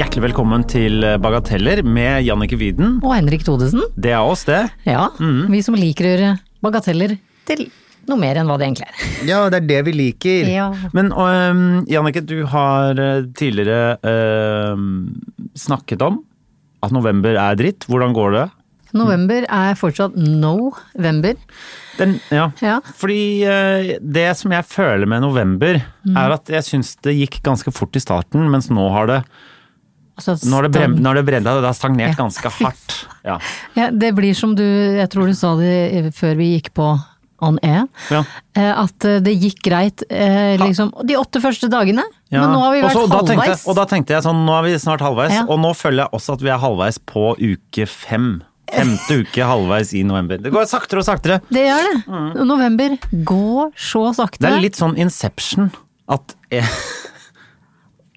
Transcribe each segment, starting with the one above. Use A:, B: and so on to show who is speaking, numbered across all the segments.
A: Hjertelig velkommen til Bagateller med Jannicke Wieden.
B: Og Henrik Thodesen.
A: Det er oss, det.
B: Ja,
A: Mm.
B: vi som liker å gjøre bagateller til noe mer enn hva det egentlig er.
C: Ja, det er det vi liker.
A: Men øhm, Jannicke, du har øh, tidligere øhm, snakket om at november er dritt. Hvordan går det?
B: November er fortsatt november.
A: Den, ja.
B: Ja.
A: Fordi øh, det som jeg føler med november,
B: Mm.
A: er at jeg syns det gikk ganske fort i starten, mens nå har det,
B: Altså,
A: nå har det, brem,
B: stang-
A: nå har det brent det har stagnert
B: Ja.
A: ganske hardt. Ja.
B: Ja, det blir som du, jeg tror du sa det eh, før vi gikk på on air,
A: Ja.
B: eh, at eh, det gikk greit eh, liksom, de åtte første dagene.
A: Ja.
B: Men nå har vi vært
A: Og så- da tenkte jeg-
B: halvveis.
A: Og da tenkte jeg sånn, nå er vi snart halvveis,
B: Ja.
A: og nå føler jeg også at vi er halvveis på uke fem. Femte uke halvveis i november. Det går saktere og saktere.
B: Det gjør det. November går så sakte.
A: Mm. Det er litt sånn Inception. At eh,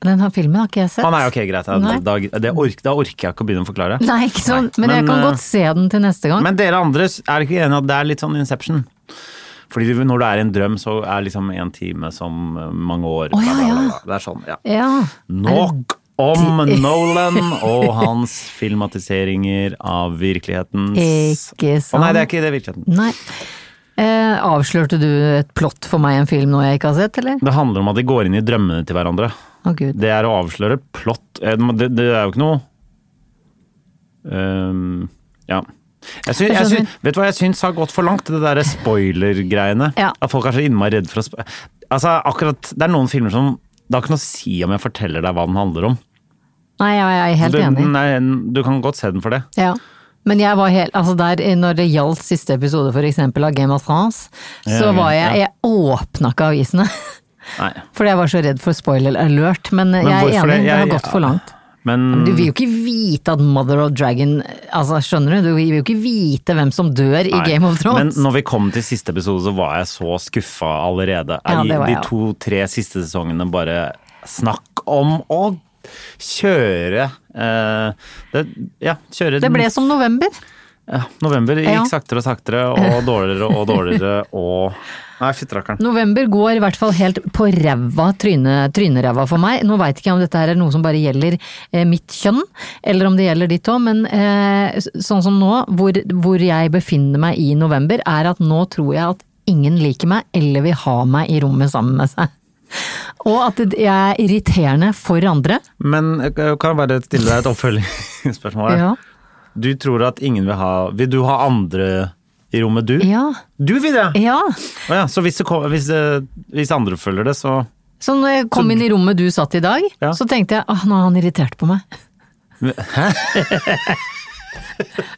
B: Den her filmen har ikke jeg sett.
A: Å nei, ok, greit. Da,
B: Nei.
A: da, det ork, da orker jeg ikke å begynne å forklare.
B: Nei, ikke sånn.
A: Nei,
B: Men, jeg
A: men,
B: kan
A: eh,
B: godt se den til neste gang.
A: Men dere andre, er dere ikke enige at det er litt sånn Inception? Fordi du- når det er en drøm, så er liksom en time som eh, mange år.
B: Å, ja,
A: bla, bla,
B: ja.
A: bla, bla. Det er sånn, ja.
B: ja.
A: Nok
B: E.
A: om Nolan og hans filmatiseringer av virkeligheten.
B: Ikke
A: Å nei,
B: sant.
A: det er ikke det virkeligheten.
B: Nei. Eh, avslørte du et plott for meg i en film nå jeg ikke har sett, eller?
A: Det handler om at de går inn i drømmene til hverandre.
B: Å gud.
A: Det er å avsløre plott Eh, Det, det er jo ikke noe Ehm, Ja. Jeg syns, jeg
B: Jeg skjønner.
A: syns, vet du hva jeg syns har gått for langt? Det derre spoiler-greiene.
B: Ja.
A: At folk er så innmari redde for å spo- Altså, akkurat Det er noen filmer som Det har ikke noe å si om jeg forteller deg hva den handler om.
B: Nei, jeg jeg er helt
A: du,
B: enig.
A: Nei, du kan godt se den for det.
B: Ja. Men jeg var helt, altså der, eh, når det gjaldt siste episode for eksempel av Game of Thrones, så
A: Ja, ja,
B: var jeg,
A: ja.
B: jeg åpna ikke avisene.
A: Nei.
B: Fordi jeg var så redd for spoiler alert, men, eh, jeg er
A: hvorfor
B: enig,
A: det?
B: det, har
A: Jeg- Mm.
B: gått for langt.
A: Men
B: Du vil jo ikke vite at Mother of Dragon altså Skjønner du? Du vil jo ikke vite hvem som dør i
A: Nei,
B: Game of Thrones.
A: Men når vi kom til siste episode, så var jeg så skuffa allerede.
B: Ja, det var
A: de
B: jeg også.
A: to-tre siste sesongene bare Snakk om å kjøre eh, det, Ja, kjøre
B: det ble som november.
A: ja, November gikk
B: Ja.
A: saktere og saktere, og dårligere og dårligere og Nei, fytterakkeren.
B: November går i hvert fall helt på ræva, tryne- tryneræva for meg. Nå veit ikke jeg om dette her er noe som bare gjelder eh, mitt kjønn, eller om det gjelder ditt òg, men eh, s- sånn som nå, hvor, hvor jeg befinner meg i november, er at nå tror jeg at ingen liker meg eller vil ha meg i rommet sammen med seg. Og at det- jeg er irriterende for andre.
A: Men jeg kan jeg bare stille deg et oppfølgingsspørsmål? her?
B: Ja.
A: Du tror at ingen vil ha Vil du ha andre i rommet, du?
B: Ja. Eh.
A: Du vil det!
B: ja.
A: Å ja, så hvis, det kom, hvis, det- hvis andre følger det, så
B: Så når jeg kom inn i rommet du satt i dag,
A: Ja.
B: så tenkte jeg ah, nå er han irritert på meg.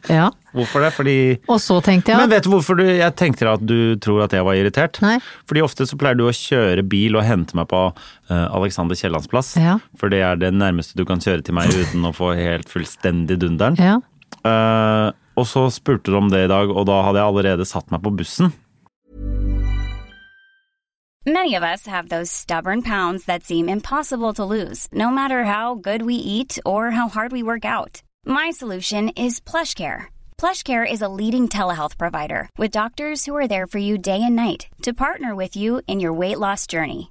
B: Hæ? ja.
A: Hvorfor det? Fordi
B: Og så tenkte jeg
A: Men vet du hvorfor du, jeg tenkte at du tror at jeg var irritert?
B: Nei.
A: Fordi ofte så pleier du å kjøre bil og hente meg på eh, Alexander Kiellands plass.
B: Ja.
A: For det er det nærmeste du kan kjøre til meg uten å få helt fullstendig dunderen.
B: Ja.
A: Eh, og så spurte du om det i dag, og da hadde jeg allerede satt meg på bussen.
D: Many of us have those stubborn pounds that seem impossible to lose, no matter how good we eat or how hard we work out. My solution is PlushCare. PlushCare is a leading telehealth provider with doctors who are there for you day and night to partner with you in your weight loss journey.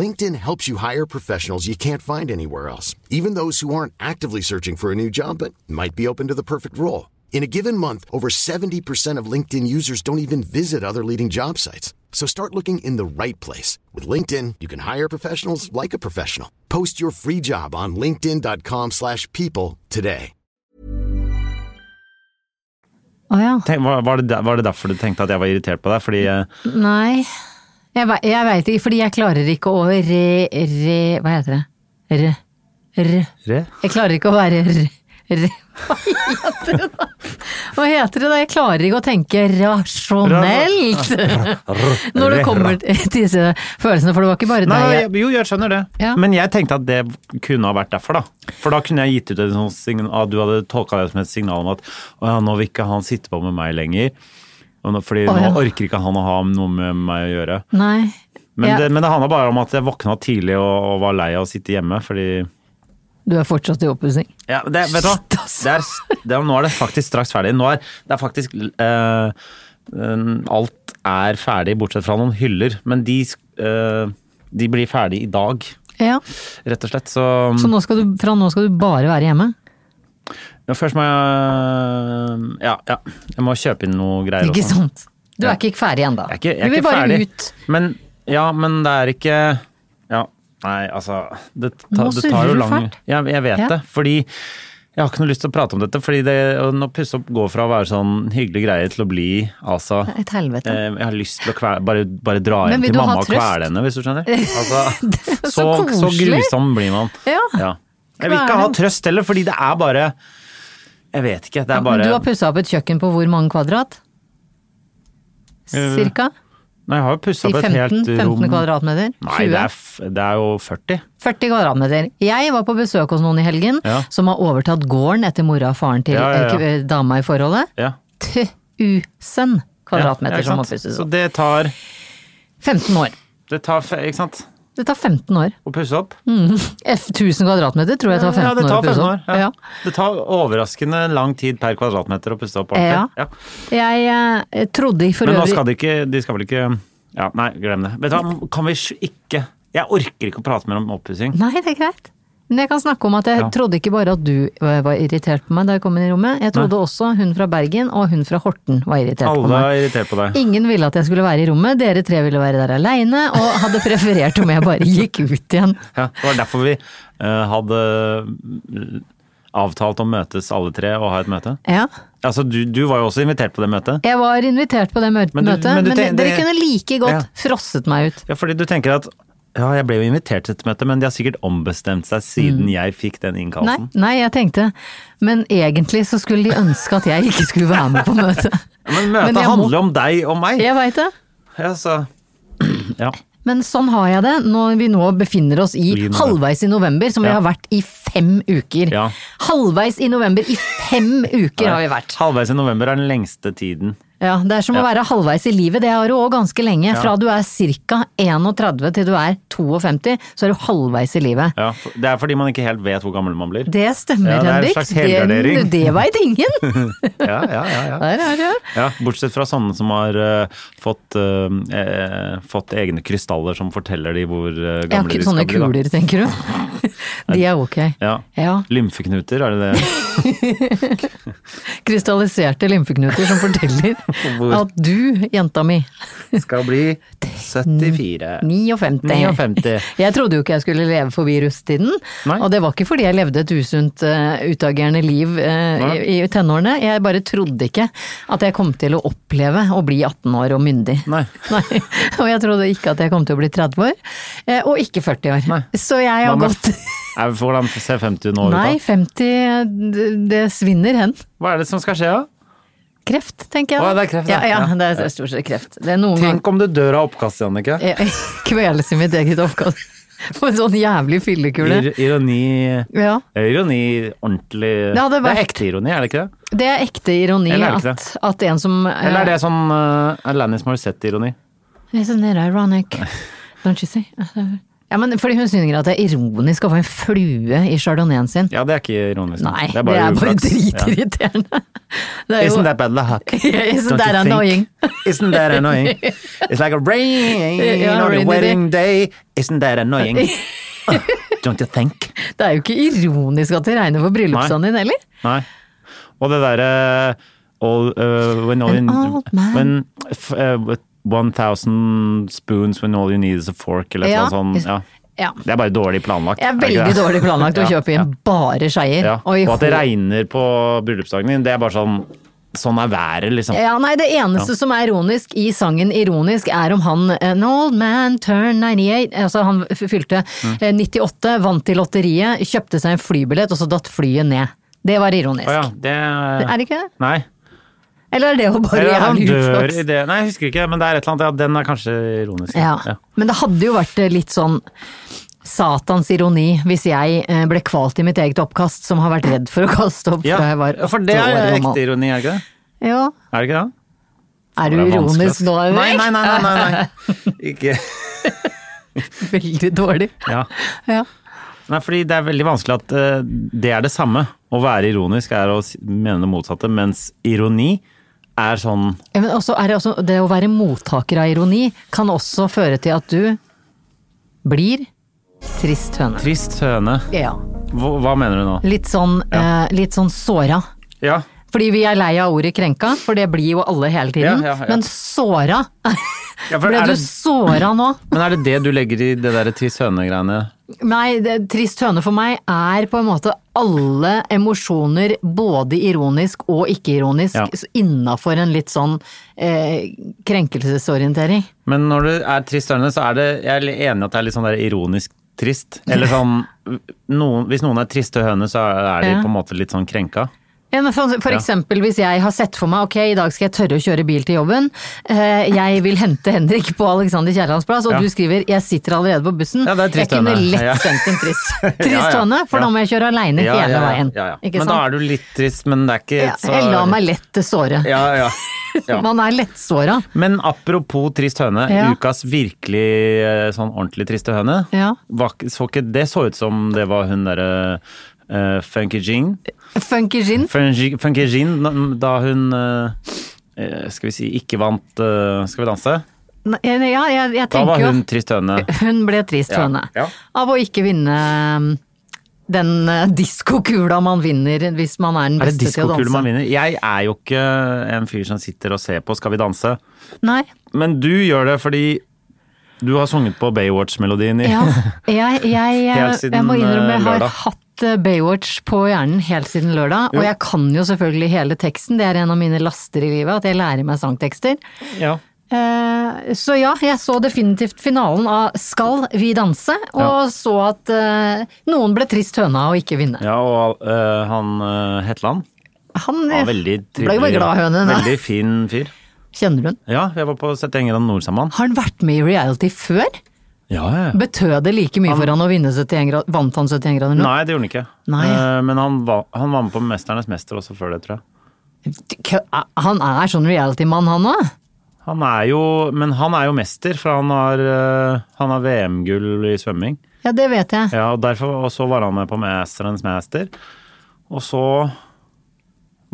E: LinkedIn helps you hire professionals you can't find anywhere else, even those who aren't actively searching for a new job but might be open to the perfect role. In a given month, over 70% of LinkedIn users don't even visit other leading job sites. So start looking in the right place. With LinkedIn, you can hire professionals like a professional. Post your free job on linkedin.com slash people today.
B: Å ja.
A: Tenk, var, var, det der, var det derfor du tenkte at jeg var irritert på deg? Fordi eh,
B: Nei. Jeg, ve- jeg veit ikke, fordi jeg klarer ikke å re... re hva heter det? Re... Re...
A: Re?
B: Jeg klarer ikke å være r... r hva heter det da? Hva heter det da? Jeg klarer ikke å tenke rasjonelt når det kommer til disse følelsene, for det var ikke bare
A: Nei,
B: deg.
A: jeg, jo, jeg skjønner det.
B: Ja.
A: Men jeg tenkte at det kunne ha vært derfor, da. For da kunne jeg gitt ut et sånt signal, at du hadde tolka det som et signal om at å ja, nå vil ikke han sitte på med meg lenger. Og nå, fordi
B: Å, ja.
A: nå orker ikke han å ha noe med meg å gjøre.
B: Nei.
A: Men,
B: Ja,
A: det, men det handla bare om at jeg våkna tidlig og, og var lei av å sitte hjemme, fordi
B: Du er fortsatt i oppussing.
A: ja, det, Vet du hva?
B: Shit, ass.
A: Det er, det er, nå er det faktisk straks ferdig. Nå er det er faktisk eh, eh, Alt er ferdig, bortsett fra noen hyller. Men de, eh, de blir ferdig i dag,
B: Ja.
A: rett og slett. Så,
B: Så nå skal du, fra nå skal du bare være hjemme?
A: ja, først må jeg ja, ja. Jeg må kjøpe inn noe greier.
B: Ikke
A: og sånn.
B: sant? Du
A: Ja.
B: er ikke ferdig ennå.
A: Jeg er
B: Du
A: ikke, jeg er
B: vil
A: ikke
B: bare
A: ferdig.
B: ut.
A: Men, ja, men det er ikke Ja, nei, altså Det, ta,
B: Nå
A: det tar
B: surrer
A: jo
B: du
A: lang
B: fælt.
A: Jeg, jeg vet
B: Ja.
A: det. Fordi jeg har ikke noe lyst til å prate om dette. fordi det å pusse opp går fra å være sånn hyggelige greier til å bli altså
B: Et helvete.
A: eh, jeg har lyst til å kvele, bare, bare dra
B: Men
A: hjem
B: vil
A: til
B: du ha
A: mamma og
B: trøst?
A: kvele henne, hvis du skjønner. Altså,
B: er
A: så,
B: så
A: så
B: koselig.
A: grusom blir man.
B: Ja.
A: Ja. Jeg vil ikke
B: Kvele.
A: ha trøst heller, fordi det er bare Jeg vet ikke. Det er
B: Men
A: bare
B: du har pussa opp et kjøkken på hvor mange kvadrat? Cirka?
A: Nei, jeg har jo pussa
B: Si
A: Eh, opp et
B: 15,
A: helt rom
B: 15 kvadratmeter?
A: Nei,
B: 20?
A: det er, f- det er jo 40.
B: 40 kvadratmeter. Jeg var på besøk hos noen i helgen
A: Ja.
B: som har overtatt gården etter mora og faren til
A: Ja, ja, ja.
B: eh, dama i forholdet.
A: Ja.
B: 1000 kvadratmeter
A: Ja, ikke
B: som må
A: sant?
B: pusses
A: Så
B: opp.
A: det tar,
B: 15 år.
A: det tar fe- Ikke sant?
B: Det tar 15 år.
A: Å pusse opp?
B: F- 1000 kvadratmeter tror jeg tar 15
A: ja, det
B: år å
A: tar
B: pusse
A: 15 år.
B: opp.
A: Ja.
B: Ja.
A: Det tar overraskende lang tid per kvadratmeter å pusse opp
B: Ja.
A: ordentlig. Ja.
B: Jeg eh, trodde for
A: Men nå
B: øvrig
A: skal de ikke De skal vel ikke Ja, nei, glem det. Vet du hva, kan vi sj- ikke Jeg orker ikke å prate mer om oppussing.
B: Nei, det er greit. Men jeg kan snakke om at jeg
A: Ja.
B: trodde ikke bare at du eh, var irritert på meg da jeg kom inn i rommet. Jeg trodde også hun fra Bergen og hun fra Horten var irritert på
A: Alle
B: meg.
A: er irritert på deg.
B: Ingen ville at jeg skulle være i rommet, dere tre ville være der aleine, og hadde preferert om jeg bare gikk ut igjen.
A: Ja, det var derfor vi eh, hadde eh, avtalt å møtes alle tre og ha et møte.
B: Ja.
A: Altså, du, du var jo også invitert på det møtet.
B: Jeg var invitert på det mø-
A: Men du-
B: møtet,
A: men
B: men,
A: du tenk-
B: dere
A: det-
B: kunne like
A: Ja.
B: godt frosset meg ut.
A: Ja, fordi du tenker at ja, jeg ble jo invitert til et møte, men de har sikkert ombestemt seg siden jeg fikk den
B: Mm. Nei,
A: innkallelsen.
B: nei, jeg tenkte, men egentlig så skulle de ønske at jeg ikke skulle være med på møtet.
A: Men møtet
B: Men jeg må-
A: handler om deg og meg.
B: Jeg veit det.
A: Ja, så Ja.
B: Men sånn har jeg det når vi nå befinner oss i
A: I november.
B: halvveis i november, som vi
A: Ja.
B: har vært i fem uker.
A: Ja.
B: Halvveis i november i fem uker har vi vært.
A: Halvveis i november er den lengste tiden.
B: Ja, Det er som å
A: Ja.
B: være halvveis i livet, det har du òg ganske lenge. Fra du er ca. 31 til du er 52, så er du halvveis i livet.
A: Ja, for- det er fordi man ikke helt vet hvor gammel man blir.
B: Det stemmer,
A: Ja, det er en
B: Henrik.
A: slags helgardering.
B: Det, det veit ingen!
A: Ja, ja, ja, ja.
B: Der er det.
A: ja bortsett fra sånne som har eh, fått, eh, eh, fått egne krystaller som forteller de hvor eh,
B: Jeg har
A: gamle de
B: ikke
A: skal
B: sånne
A: bli. da.
B: kuler, tenker du. De er ok.
A: Ja.
B: Ja.
A: Lymfeknuter, er det det?
B: Krystalliserte lymfeknuter som forteller
A: Hvor-
B: at du, jenta mi,
A: Skal bli
B: Mm.
A: 74.
B: 59.
A: 59.
B: Jeg trodde jo ikke jeg skulle leve forbi rusttiden,
A: Nei.
B: og det var ikke fordi jeg levde et usunt, eh, utagerende liv eh,
A: Nei.
B: i, i tenårene. Jeg bare trodde ikke at jeg kom til å oppleve å bli 18 år og myndig.
A: Nei.
B: Nei. Og jeg trodde ikke at jeg kom til å bli 30 år, eh, og ikke 40 år.
A: Nei.
B: Så jeg
A: Hva
B: har
A: med-
B: gått
A: Er, hvordan ser 50 nå ut da?
B: Nei, 50, det- det svinner hen.
A: Hva er det som skal skje da?
B: Kreft, tenker jeg.
A: Å, det er kreft, ja.
B: ja. Ja,
A: Ja.
B: det er stort sett kreft. Det er noen ganger
A: Tenk om du dør av oppkast, Jannicke.
B: Jeg kveles i mitt eget oppkast. På en sånn jævlig fyllekule.
A: Ir ironi
B: Ja.
A: Det er Ironi, ordentlig
B: Det hadde
A: Det er
B: vært-
A: ekte ironi, er det ikke det?
B: Det er ekte ironi
A: Eller er det ikke
B: at, at en som
A: Eller er det sånn uh, Alanis Morissette-ironi?
B: Isn't it sånn ironic? Don't you see? Altså, Ja, men fordi hun synger at det er ironisk å få en flue i chardonnayen sin.
A: Ja, det er ikke ironisk.
B: Nei, det er bare,
A: uflaks. Ja.
B: dritirriterende. Det er jo
A: Isn't that bad luck?
B: Isn't
A: Don't
B: that
A: you think?
B: annoying?
A: Isn't that annoying? It's like a rain
B: Ja,
A: on a
B: rainy
A: wedding day. Isn't that annoying? Uh, Don't you think?
B: Det er jo ikke ironisk at det regner for bryllupsdagen din heller.
A: Nei. Og det derre uh, eh, all, uh, when all
B: An
A: in,
B: old man.
A: when, f, uh, 1000 spoons when all you need is a fork, eller
B: Ja.
A: noe sånt. Ja.
B: Ja.
A: Det er bare dårlig planlagt.
B: Jeg er
A: det ikke
B: veldig
A: det?
B: dårlig planlagt å
A: Ja,
B: kjøpe inn bare skeier.
A: Ja.
B: i
A: Og at det
B: hå-
A: regner på bryllupsdagen din, det er bare sånn Sånn er været, liksom.
B: Ja, nei, Det eneste som er ironisk i sangen Ironisk, er om han eh, An old man turned 98 Altså, han f- fylte
A: Mm.
B: eh, 98, vant i lotteriet, kjøpte seg en flybillett, og så datt flyet ned. Det var ironisk.
A: Å ja, det
B: Er det ikke det?
A: Nei.
B: Eller er det jo bare
A: Eller at han
B: jævlig
A: dør
B: uflaks?
A: i det Nei, jeg husker ikke, men det er et eller annet. Ja, den er kanskje ironisk.
B: Ja.
A: Ja.
B: Men det hadde jo vært eh, litt sånn satans ironi hvis jeg eh, ble kvalt i mitt eget oppkast, som har vært redd for å kaste opp
A: Ja,
B: fra jeg var åtte
A: for det er
B: år
A: ekte
B: gammel.
A: ironi, er det ikke det?
B: Ja.
A: Er det ikke det?
B: Er du
A: Det er vanskelig,
B: ironisk
A: ass.
B: nå, Henrik?
A: Nei, nei, nei. nei, nei, nei. Ikke
B: Veldig dårlig.
A: Ja.
B: Ja.
A: Nei, fordi det er veldig vanskelig at eh, det er det samme. Å være ironisk er å si- mene det motsatte, mens ironi er sånn
B: Ja, Men også er det, også, det å være mottaker av ironi kan også føre til at du blir trist høne.
A: trist høne.
B: Ja.
A: Hva, hva mener du nå?
B: Litt sånn,
A: Ja.
B: eh, litt sånn såra.
A: Ja,
B: Fordi vi er lei av ordet krenka, for det blir jo alle hele tiden.
A: Ja, ja, ja.
B: Men såra!
A: ja for
B: Ble
A: er
B: du
A: det,
B: såra nå?
A: Men er det det du legger i det derre trist høne-greiene?
B: Nei, det, trist høne for meg er på en måte alle emosjoner, både ironisk og ikke-ironisk,
A: Ja.
B: ja. innafor en litt sånn eh, krenkelsesorientering.
A: Men når du er trist høne, så er det Jeg er litt enig i at det er litt sånn der ironisk trist. Eller sånn noen, Hvis noen er triste høne, så er de
B: Ja.
A: på en måte litt sånn krenka.
B: Ja, men for, for
A: Ja.
B: eksempel hvis jeg har sett for meg ok, i dag skal jeg tørre å kjøre bil til jobben. eh, jeg vil hente Henrik på Alexander Kiellands plass, og
A: Ja.
B: du skriver 'jeg sitter allerede på bussen'.
A: Ja, det er trist
B: jeg kunne
A: høne.
B: lett
A: Ja.
B: sendt en trist, trist
A: Ja, ja.
B: høne, for
A: Ja.
B: da må jeg kjøre aleine
A: Ja,
B: hele
A: ja, ja,
B: veien.
A: ja, ja.
B: Ikke
A: Men da er du litt trist, men det er ikke
B: ja, jeg lar meg lett såre.
A: Ja, ja. ja.
B: Man er lettsåra.
A: Men apropos trist høne,
B: Ja.
A: ukas virkelig eh, sånn ordentlig triste høne,
B: Ja.
A: var, ikke- så ikke, det så ut som det var hun derre eh, Funky Jean.
B: Funky gin.
A: Funky, Funky Jean n- da hun eh, eh, skal vi si ikke vant eh, Skal vi danse?
B: Nei, Ja, jeg, jeg
A: Da var
B: tenker jo
A: hun trist høne.
B: Hun ble trist
A: Ja,
B: høne
A: ja.
B: av å ikke vinne um, den uh, diskokula man vinner hvis man er den
A: Er det
B: beste til å
A: diskokule
B: danse.
A: man vinner? Jeg er jo ikke en fyr som sitter og ser på Skal vi danse,
B: Nei.
A: men du gjør det fordi du har sunget på Baywatch-melodien i
B: Ja, jeg, jeg,
A: Helt
B: jeg,
A: siden,
B: jeg må innrømme
A: eh,
B: jeg har
A: lørdag.
B: hatt eh, Baywatch på hjernen helt siden lørdag, og jeg kan jo selvfølgelig hele teksten, det er en av mine laster i livet, at jeg lærer meg sangtekster.
A: Ja.
B: Eh, Så ja, jeg så definitivt finalen av Skal vi danse, og
A: Ja.
B: så at eh, noen ble trist høna og ikke vinne.
A: Ja, og eh, han eh, Hetland
B: Han eh,
A: var veldig
B: ble jo bare glad høne, da.
A: Veldig fin fyr.
B: kjenner du han?
A: Ja, jeg var på Sett England Nord sammen med han.
B: Har han vært med i reality før?
A: Ja, ja. ja.
B: Betød det like mye for han å vinne 71 grader? Vant han 71 grader nå?
A: Nei, det gjorde han ikke.
B: Nei.
A: Eh, men han var, han var med på Mesternes mester også før det, tror jeg.
B: Kø- Han er sånn reality-mann, han òg?
A: Han er jo, men han er jo mester, for han har, eh, han har VM-gull i svømming.
B: Ja, det vet jeg.
A: Ja, og, derfor, og så var han med på Mesternes mester. Og så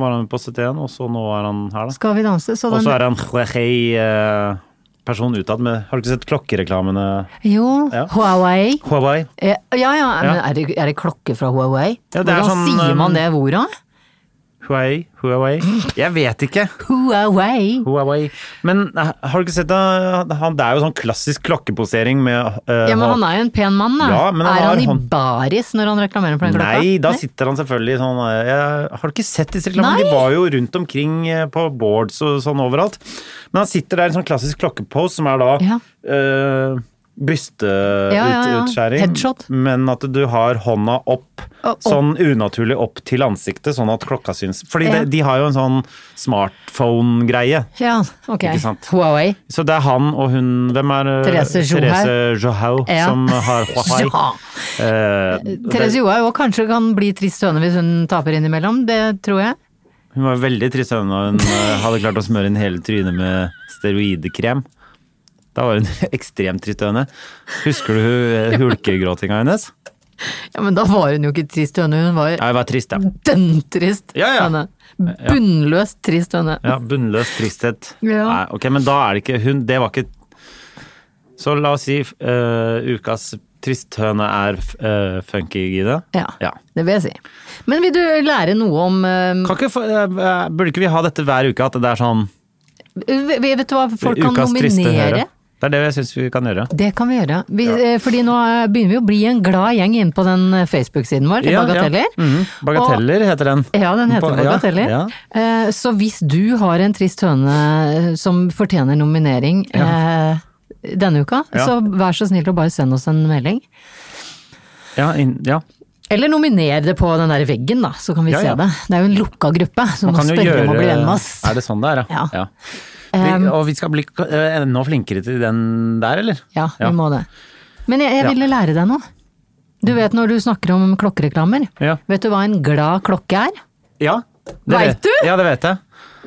A: var han med på 71, og så nå er han her, da.
B: Skal vi danse? Så
A: Og
B: den,
A: så er han eh, person utad med Har du ikke sett klokkereklamene?
B: jo,
A: Ja.
B: Huawei.
A: Hawaii.
B: Eh, Ja ja, men
A: Ja.
B: er det, er det klokke fra Huawei?
A: Ja, det er
B: Hvordan
A: sånn,
B: sier
A: um,
B: man det ordet?
A: Huawei, Huawei. Jeg vet ikke.
B: Huawei.
A: Huawei. Men eh, har du ikke sett det? Han, det er jo sånn klassisk klokkeposering med eh,
B: Ja, men han er jo en pen mann, da.
A: Ja, men han
B: er
A: har
B: han i
A: hånd-
B: baris når han reklamerer for den klokka?
A: Nei, da sitter han selvfølgelig sånn eh, jeg, Har du ikke sett disse reklamene?
B: Nei.
A: De var jo rundt omkring eh, på boards og sånn overalt. Men han sitter der i en sånn klassisk klokkepose, som er da
B: Ja.
A: eh,
B: Ja, ja, ja.
A: Brysteutskjæring,
B: Headshot.
A: men at du har hånda opp,
B: Og- og-
A: sånn unaturlig opp til ansiktet, sånn at klokka syns. Fordi
B: Ja.
A: de, de har jo en sånn smartphone-greie.
B: Ja, ok.
A: Ikke sant.
B: Huawei.
A: Så det er han og hun Hvem er eh,
B: Therese Johaug.
A: Therese Johaug
B: Ja.
A: som har Huawei.
B: Ja.
A: Eh,
B: Therese
A: det-
B: Johaug òg kanskje kan bli trist høne hvis hun taper innimellom, det tror jeg.
A: Hun var veldig trist da hun eh, hadde klart å smøre inn hele trynet med steroidekrem. Da var hun ekstremt trist høne. Husker du eh, hulkegråtinga hennes?
B: Ja, Men da var hun jo ikke trist høne, hun var
A: Ja, jeg var trist, ja.
B: dønntrist
A: Ja, ja.
B: høne. Bunnløst trist høne.
A: ja bunnløs tristhet.
B: Ja.
A: Nei, ok, men da er det ikke hun Det var ikke Så la oss si eh, ukas tristhøne er eh, funky, Gide.
B: Ja,
A: Ja.
B: det vil jeg si. Men vil du lære noe om eh,
A: Kan ikke, få- eh, burde ikke vi ha dette hver uke, at det er sånn
B: V- Vet du hva folk kan
A: Ukas triste
B: nominere?
A: høre. Det er det jeg syns vi kan gjøre.
B: Det kan vi gjøre. Vi, eh, Fordi nå eh, begynner vi å bli en glad gjeng inne på den eh, Facebook-siden vår til
A: Ja, ja.
B: Bagateller.
A: Mhm. Bagateller heter den.
B: Og, ja, den heter
A: Ba- ja,
B: Bagateller.
A: ja.
B: Eh, Så hvis du har en trist høne eh, som fortjener nominering eh, denne uka,
A: Ja.
B: så vær så snill å bare sende oss en melding.
A: Ja, inn- ja.
B: Eller nominer det på den der veggen, da, så kan vi
A: Ja, ja.
B: se det. Det er jo en lukka gruppe, så
A: Man
B: man
A: kan jo
B: spørre
A: gjøre
B: om å bli venn med oss.
A: Er det sånn det er, ja?
B: Ja.
A: Vi,
B: Um,
A: og vi skal bli k- eh, enda flinkere til den der, eller?
B: Ja, vi
A: Ja.
B: må det. Men jeg, jeg
A: Ja.
B: ville lære deg noe. Du vet når du snakker om klokkereklamer,
A: Ja.
B: vet du hva en glad klokke er?
A: Ja. det
B: Vet du?
A: Ja, det vet jeg.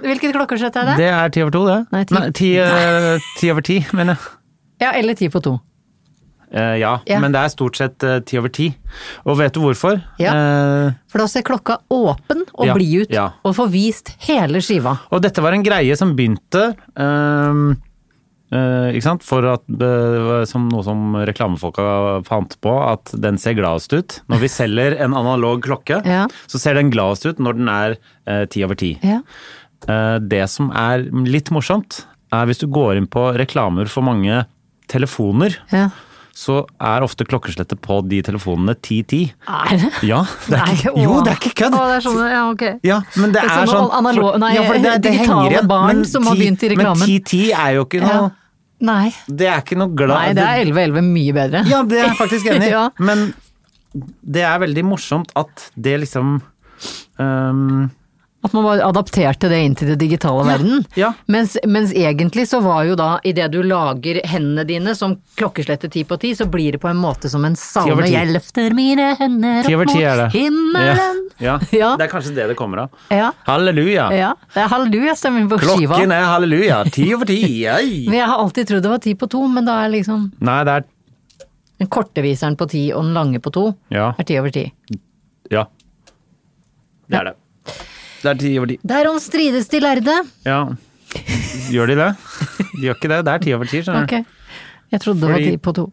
B: Hvilket klokkeslett er det?
A: Det er ti over to, det.
B: Nei, ti-
A: ti, eh, ti over ti, mener jeg.
B: Ja, eller ti på to.
A: Eh, ja,
B: Ja.
A: men det er stort sett eh, ti over ti. Og vet du hvorfor?
B: Ja.
A: Eh,
B: For da ser klokka åpen og
A: Ja,
B: blid ut,
A: ja.
B: og får vist hele skiva.
A: Og dette var en greie som begynte ehm, eh, ikke sant? For at, eh, som noe som reklamefolka fant på, at den ser gladest ut. Når vi selger en analog klokke,
B: Ja.
A: så ser den gladest ut når den er ti over ti.
B: Ja.
A: Eh, det som er litt morsomt, er hvis du går inn på reklamer for mange telefoner,
B: Ja.
A: så er ofte klokkeslettet på de telefonene 10-10.
B: Er det?
A: Ja, det er ikke, jo, det er ikke kødd!
B: Å, det er sånn, ja, ok.
A: Ja, men det
B: Det er
A: er
B: sånn
A: sånn
B: analog- nei, eh,
A: ja, for
B: digitale
A: henger igjen,
B: barn
A: men
B: som har
A: 10
B: begynt i reklamen.
A: Men 1010 er jo ikke noe
B: Ja. Nei.
A: Det er ikke noe glad
B: Nei, det er 11-11 mye bedre.
A: Ja, det er jeg faktisk enig i.
B: Ja.
A: Men det er veldig morsomt at det liksom ehm, øhm,
B: At man bare adapterte det inn til det digitale verden.
A: ja.
B: Mens, mens egentlig så var jo da, idet du lager hendene dine som klokkeslettet ti på ti, så blir det på en måte som en
A: over
B: salme.
A: ti.
B: Jeg løfter mine hender
A: Ti over
B: opp
A: ti er det.
B: mot himmelen.
A: Ja, ja.
B: Ja.
A: Det er kanskje det det kommer av.
B: Ja.
A: Halleluja.
B: Ja, det er halleluja stemmer på skiva.
A: Klokken er halleluja. Ti over ti. ei.
B: Men jeg har alltid trodd det var ti på to, men da er liksom
A: Nei, det er
B: den korte viseren på ti og den lange på to
A: Ja.
B: er ti over ti.
A: Ja. Det er det. Det er ti over ti.
B: Derom strides de lærde.
A: Ja. Gjør de det? De gjør ikke det. Det er ti over ti, skjønner du.
B: Ok, jeg trodde det var
A: Fordi-
B: ti på to.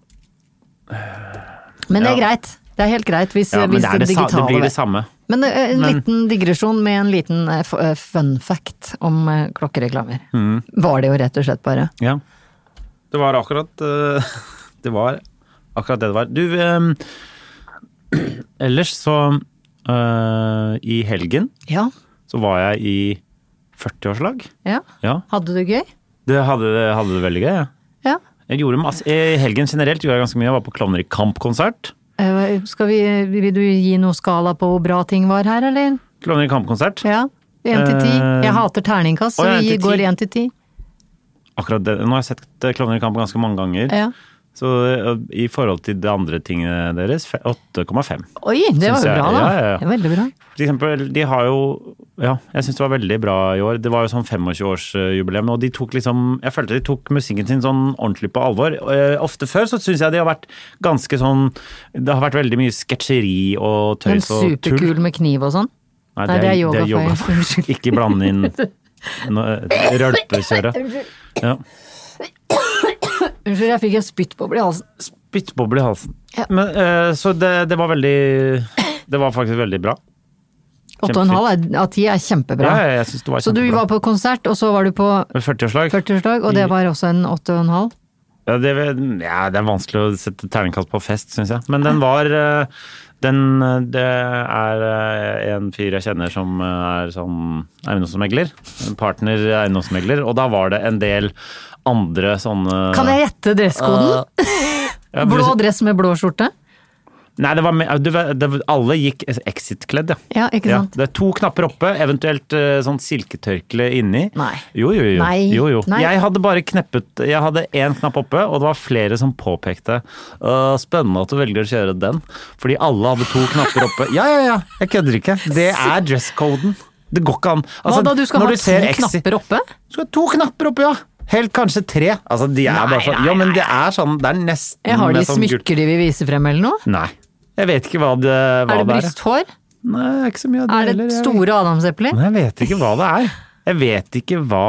B: Men det er
A: Ja.
B: greit. Det er helt greit hvis,
A: Ja, men
B: hvis
A: det, er
B: det,
A: det, sa- det
B: eh, digitale
A: blir det samme.
B: Men eh, en
A: Men-
B: liten digresjon med en liten eh, f- eh, fun fact om eh, klokkereklamer.
A: Mm.
B: Var det jo rett og slett bare.
A: Ja. Det var akkurat eh, Det var akkurat det det var. Du, eh, ellers så eh, I helgen
B: Ja.
A: så var jeg i 40-årslag.
B: ja.
A: Ja.
B: Hadde du gøy?
A: Det hadde, hadde det veldig gøy. Ja.
B: Ja.
A: Jeg gjorde masse, I helgen generelt gjorde jeg ganske mye. Jeg var på Klovner i kamp-konsert.
B: Eh, Skal vi, vil du gi noe skala på hvor bra ting var her, eller?
A: Klovner i kamp-konsert.
B: Ja. Én til ti.
A: Eh,
B: Jeg hater terningkast,
A: å,
B: så
A: ja,
B: vi
A: en til ti.
B: går én til ti.
A: Akkurat det, Nå har jeg sett Klovner i kamp ganske mange ganger.
B: Ja.
A: Så eh, i forhold til de andre tingene deres, fe- 8,5.
B: Oi, det
A: Synes
B: var jo
A: jeg-
B: bra,
A: ja,
B: da.
A: ja, ja.
B: Det er Veldig bra.
A: For eksempel, de har jo Ja, jeg syns det var veldig bra i år. Det var jo sånn 25-årsjubileum, og de tok liksom Jeg følte de tok musikken sin sånn ordentlig på alvor. Eh, Ofte før så syns jeg de har vært ganske sånn Det har vært veldig mye sketsjeri og
B: Men
A: tøys og tull.
B: Sånn superkul med kniv og sånn.
A: Nei,
B: Nei, det er yoga for- Unnskyld.
A: Ikke blande inn noe- rølpekjøret. Ja.
B: Unnskyld, jeg fikk en spyttboble i halsen.
A: Spyttboble i halsen.
B: Ja.
A: Men, eh, så det, det var veldig Det var faktisk veldig bra.
B: Åtte og en halv er- av ti er kjempebra.
A: Ja, ja, jeg synes det var
B: Så du
A: kjempebra. Mm.
B: var på konsert, og så var du på
A: 40-årslag.
B: 40-årsdag, og det var også en åtte og en halv.
A: Ja, det, ja, det er vanskelig å sette terningkast på fest, syns jeg. Men den var eh, den, eh, Det er eh, en fyr jeg kjenner som eh, er sånn eiendomsmegler. En partner eiendomsmegler. Og da var det en del andre sånne
B: Kan jeg gjette dresskoden?
A: Ja, for-
B: Blå dress med blå skjorte?
A: Nei, det var, me- du vet, det, alle gikk exit-kledd, ja.
B: Ja, ikke
A: Ja,
B: sant?
A: det er to knapper oppe, eventuelt eh, sånn silketørkle inni.
B: Nei.
A: Jo, jo, jo.
B: Nei.
A: jo, jo.
B: Nei.
A: Jeg hadde bare kneppet Jeg hadde én knapp oppe, og det var flere som påpekte «Øh, Spennende at du velger å kjøre den, fordi alle hadde to knapper oppe. Ja, ja, ja, jeg kødder ikke. Det er dresscoden. Det går ikke an.
B: Hva
A: Altså,
B: da, du skal
A: når
B: ha
A: du
B: to
A: ser exit-
B: knapper oppe?
A: Du skal ha to knapper oppe, ja! Helt kanskje tre. Altså, de er bare sånn Ja, men det er sånn Det er nesten
B: Jeg har de
A: med sånn gult-
B: smykker de vil vise frem eller noe?
A: Nei. Jeg vet ikke hva det, hva
B: Er det
A: det
B: brysthår?
A: Nei, det er ikke så mye av det
B: Er
A: heller,
B: det
A: jeg vet
B: store adamsepler?
A: Nei, jeg vet ikke hva det er. Jeg vet ikke hva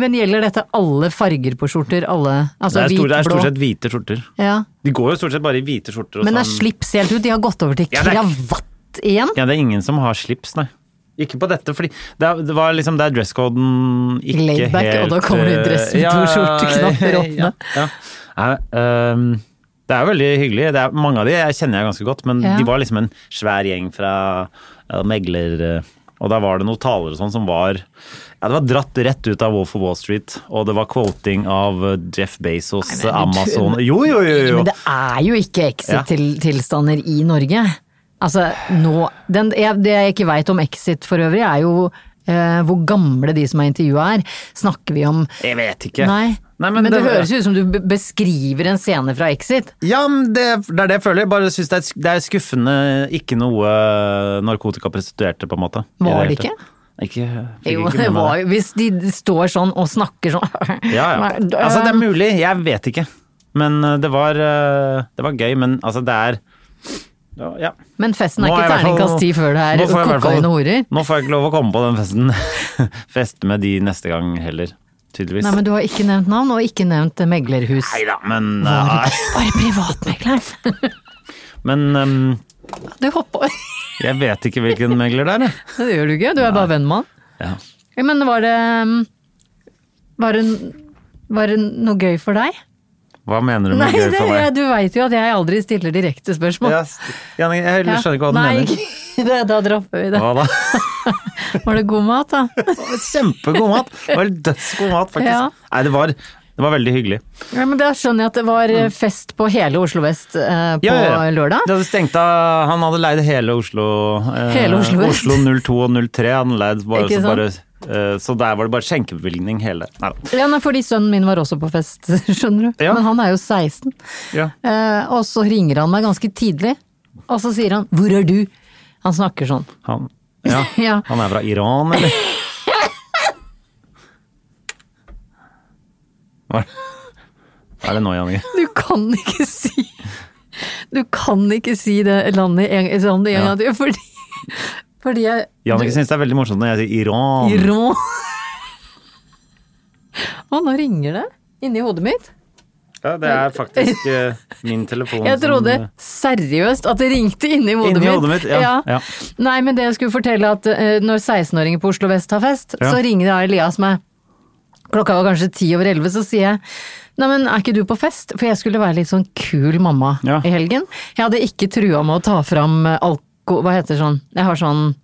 B: Men gjelder dette alle farger på skjorter? Alle,
A: Det
B: altså
A: er,
B: hvit,
A: stor, det er
B: blå?
A: stort sett hvite skjorter.
B: Ja.
A: De går jo stort sett bare i hvite skjorter. og
B: Men det er
A: sånn-
B: slips helt ut, de har gått over til
A: Ja, det er-
B: kravatt igjen?
A: Ja, det er ingen som har slips, nei. Ikke på dette, fordi det, er- det var liksom der dresscoden ikke
B: Laid back,
A: helt eh,
B: og da kommer du i dress med to skjorteknapper åpne.
A: Ja, ja. Nei, ehm, det er jo veldig hyggelig. Det er, mange av de jeg kjenner jeg ganske godt, men
B: Ja.
A: de var liksom en svær gjeng fra eh, megler... eh, Og der var det noen talere og sånn som var Ja, det var dratt rett ut av Wolf of Wall Street, og det var quoting av eh, Jeff Bezos,
B: Nei, men-
A: Amazon Jo, jo, jo! jo.
B: Men det er jo ikke
A: Ja.
B: exit-tilstander i Norge. Altså, nå den, jeg, Det jeg ikke veit om exit for øvrig, er jo eh, hvor gamle de som er intervjua er. Snakker vi om
A: Jeg vet ikke.
B: Nei. men, det, høres jo ut som du be- beskriver en scene fra Exit.
A: Ja, men det, det er det jeg føler. Jeg bare synes det, er, det er skuffende ikke noe narkotikaprostituerte, på en måte. I
B: Var det
A: hele tatt. Ikke, fikk
B: Jo,
A: ikke
B: det
A: med meg
B: var jo Hvis de står sånn og snakker sånn
A: Ja, ja.
B: Nei, det-
A: Altså, det er mulig. Jeg vet ikke. Men eh, det var, eh, det var gøy. Men altså, det er Ja, ja.
B: Men festen
A: Nå er
B: er ikke
A: jeg i hvert fall-
B: terningkast ti før det
A: Nå får
B: er
A: jeg i hvert fall-
B: kokain og horer.
A: Nå får jeg ikke lov å komme på den festen. Feste med de neste gang heller, tydeligvis.
B: Nei, men du har ikke nevnt navn, og ikke nevnt eh, meglerhus.
A: Neida, men eh,
B: Bare, bare privatmegleren!
A: Men ehm,
B: Du hopper
A: jeg vet ikke hvilken megler det er, jeg.
B: Det gjør du ikke, du er bare venn med han.
A: Ja.
B: Ja, Men var det um, var det, var det noe gøy for deg?
A: Hva mener du
B: Nei,
A: med gøy
B: det,
A: for meg?
B: jeg, du veit jo at jeg aldri stiller direkte spørsmål.
A: Ja, st- Janne, jeg
B: Ja.
A: skjønner ikke hva du
B: Nei,
A: mener.
B: ikke- det, da dropper vi det.
A: Hva da?
B: Var det god mat, da?
A: Det var Kjempegod mat! Det var Dødsgod mat, faktisk.
B: Ja.
A: Nei, det var, det var veldig hyggelig.
B: Ja, men Da skjønner jeg at det var eh, fest på hele Oslo vest eh, på
A: Mm. Ja, ja, ja.
B: lørdag.
A: Det hadde stengt av, han hadde leid hele Oslo eh,
B: Hele Oslo Vest.
A: Oslo 02 og 03. Han leid bare,
B: Ikke
A: så, bare,
B: sant?
A: eh, så der var det bare skjenkebevilgning hele Neida.
B: Ja, nei, fordi sønnen min var også på fest, skjønner du.
A: Ja.
B: Men han er jo 16.
A: Ja.
B: Eh, og så ringer han meg ganske tidlig, og så sier han 'hvor er du?' Han snakker sånn.
A: Han, ja.
B: Ja.
A: han er fra Iran, eller? Hva er- hva er det nå, Janne?
B: Du kan ikke si Du kan ikke si det landet en, sånn en
A: Ja.
B: gang til, fordi Fordi jeg
A: Jannicke syns det er veldig morsomt når jeg sier Iran.
B: Iran Å, nå ringer det inni hodet mitt.
A: Ja, det er faktisk eh, min telefon
B: Jeg trodde
A: som eh,
B: seriøst at det ringte inni hodet
A: Inni
B: mitt.
A: hodet mitt, ja, ja.
B: Nei, men det jeg skulle fortelle at eh, når 16-åringer på Oslo Vest har fest,
A: Ja.
B: så ringer da Elias meg. Klokka var kanskje ti over elleve, så sier jeg Nei, men er ikke du på fest? For jeg skulle være litt sånn kul mamma
A: Ja.
B: i helgen. Jeg hadde ikke trua med å ta fram eh, alko... Hva heter sånn? Jeg har sånn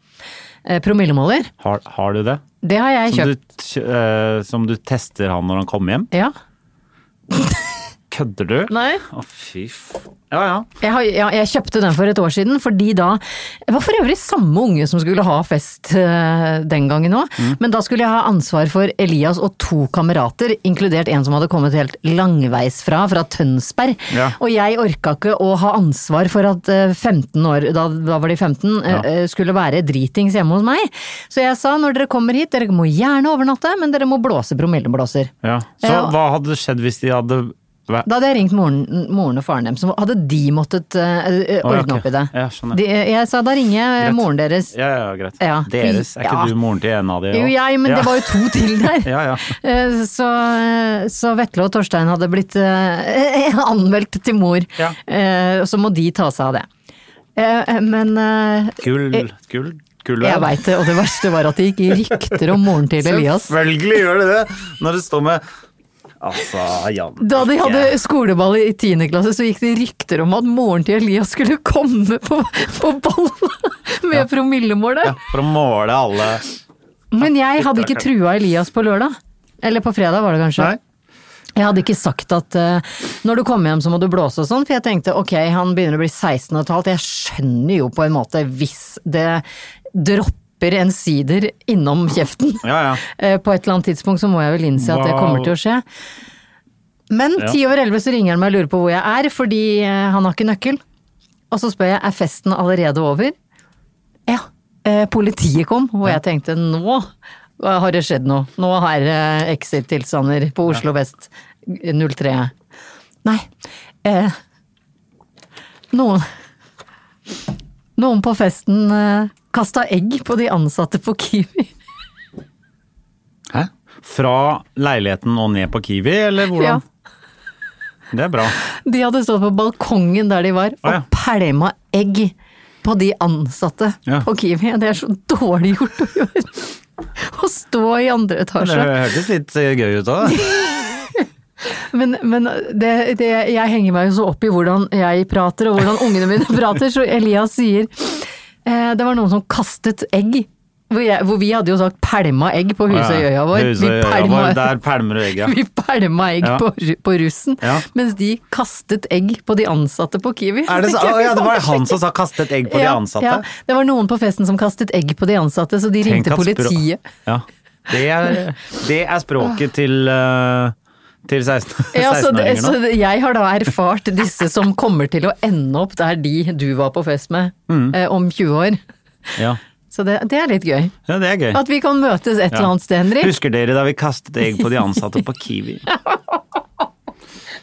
B: eh, promillemåler.
A: har, har du det?
B: Det har jeg
A: Som
B: kjøpt.
A: du, t- eh, som du tester han når han kommer hjem?
B: Ja.
A: Kødder du?
B: Nei.
A: Å, fy f... Ja, ja.
B: Jeg, har, ja, jeg kjøpte den for et år siden, fordi da Det var for øvrig samme unge som skulle ha fest eh, den gangen òg,
A: Mm.
B: men da skulle jeg ha ansvar for Elias og to kamerater, inkludert en som hadde kommet helt langveisfra, fra Tønsberg.
A: Ja.
B: Og jeg orka ikke å ha ansvar for at eh, 15 år, da, da var de 15,
A: Ja.
B: eh, eh, skulle være dritings hjemme hos meg. Så jeg sa når dere kommer hit, dere må gjerne overnatte, men dere må blåse promilleblåser.
A: ja. Så
B: Ja.
A: hva hadde skjedd hvis de hadde væ-
B: Da hadde jeg ringt moren, moren og faren deres, så hadde de måttet eh, eh,
A: Å, ja,
B: ordne
A: ok.
B: opp i det.
A: Ja, skjønner.
B: de, eh, jeg sa da ringer jeg eh,
A: Greit.
B: moren deres.
A: Ja, ja, greit.
B: Ja.
A: Deres? Er ikke
B: Ja.
A: du moren til en av de?
B: Jo,
A: også?
B: jeg, men
A: ja.
B: det var jo to til der.
A: Ja, ja.
B: Eh, Så, eh, så Vetle og Torstein hadde blitt eh, anmeldt til mor,
A: Ja.
B: Eh, så må de ta seg av det. Eh, eh, Men eh,
A: Gull, gull, gull
B: jeg veit det, og det verste var at det gikk rykter om moren til Elias.
A: Selvfølgelig gjør det det! Når det står med Altså, Jan
B: Da de hadde skoleball i tiende klasse, så gikk det rykter om at moren til Elias skulle komme på, på ball med promillemålet.
A: ja, For å måle alle
B: Men jeg hadde ikke trua Elias på lørdag. Eller på fredag, var det kanskje.
A: Nei?
B: Jeg hadde ikke sagt at eh, når du kommer hjem så må du blåse og sånn, for jeg tenkte ok, han begynner å bli 16 og et halvt, jeg skjønner jo på en måte hvis det dropper en sider innom kjeften.
A: Ja, ja.
B: Eh, På et eller annet tidspunkt så må jeg vel innse at det
A: Hva-
B: kommer til å skje. Men
A: Ja.
B: ti over elleve så ringer han meg og lurer på hvor jeg er, fordi eh, han har ikke nøkkel. Og så spør jeg er festen allerede over. Ja. Eh, Politiet kom, og jeg tenkte nå eh, har det skjedd noe. Nå er det exit-tilstander på Oslo vest 03. Nei. Eh, noen Noen på festen eh, kasta egg på de ansatte på Kiwi.
A: Hæ? Fra leiligheten og ned på Kiwi, eller hvordan? Det er bra.
B: De hadde stått på balkongen der de var, og
A: Å, ja.
B: pælma egg på de ansatte
A: Ja.
B: på Kiwi. Det er så dårlig gjort å gjøre. Å stå i andre
A: Det
B: etasje.
A: hørtes litt eh, gøy ut òg.
B: Men, men det, det, jeg henger meg jo så opp i hvordan jeg prater og hvordan ungene mine prater, så Elias sier eh, Det var noen som kastet egg. Hvor, jeg, hvor vi hadde jo sagt 'pælma egg' på Husøyøya vår. Vi
A: Husøyøya vår,
B: pælma-
A: Der pælmer du egga.
B: Vi pælma egg
A: Ja.
B: på, ru- på russen,
A: Ja.
B: mens de kastet egg på de ansatte på Kiwi.
A: Er det, så, Å, ja, det var han som sa 'kaste et egg på de
B: Ja,
A: ansatte'.
B: Ja, det var noen på festen som kastet egg på de ansatte, så de
A: Tenk
B: ringte
A: at språk-
B: politiet. Ah.
A: Ja. Det er, det er språket til, eh, til 16
B: Ja, så, det,
A: 16-åringer
B: så
A: nå.
B: det, jeg har da erfart disse som kommer til å ende opp der de du var på fest med
A: Mm.
B: eh, om 20 år.
A: Ja.
B: Så det, det er litt gøy.
A: ja, det er gøy.
B: At vi kan møtes et
A: Ja.
B: eller annet sted, Henrik.
A: Husker dere da vi kastet egg på de ansatte på Kiwi?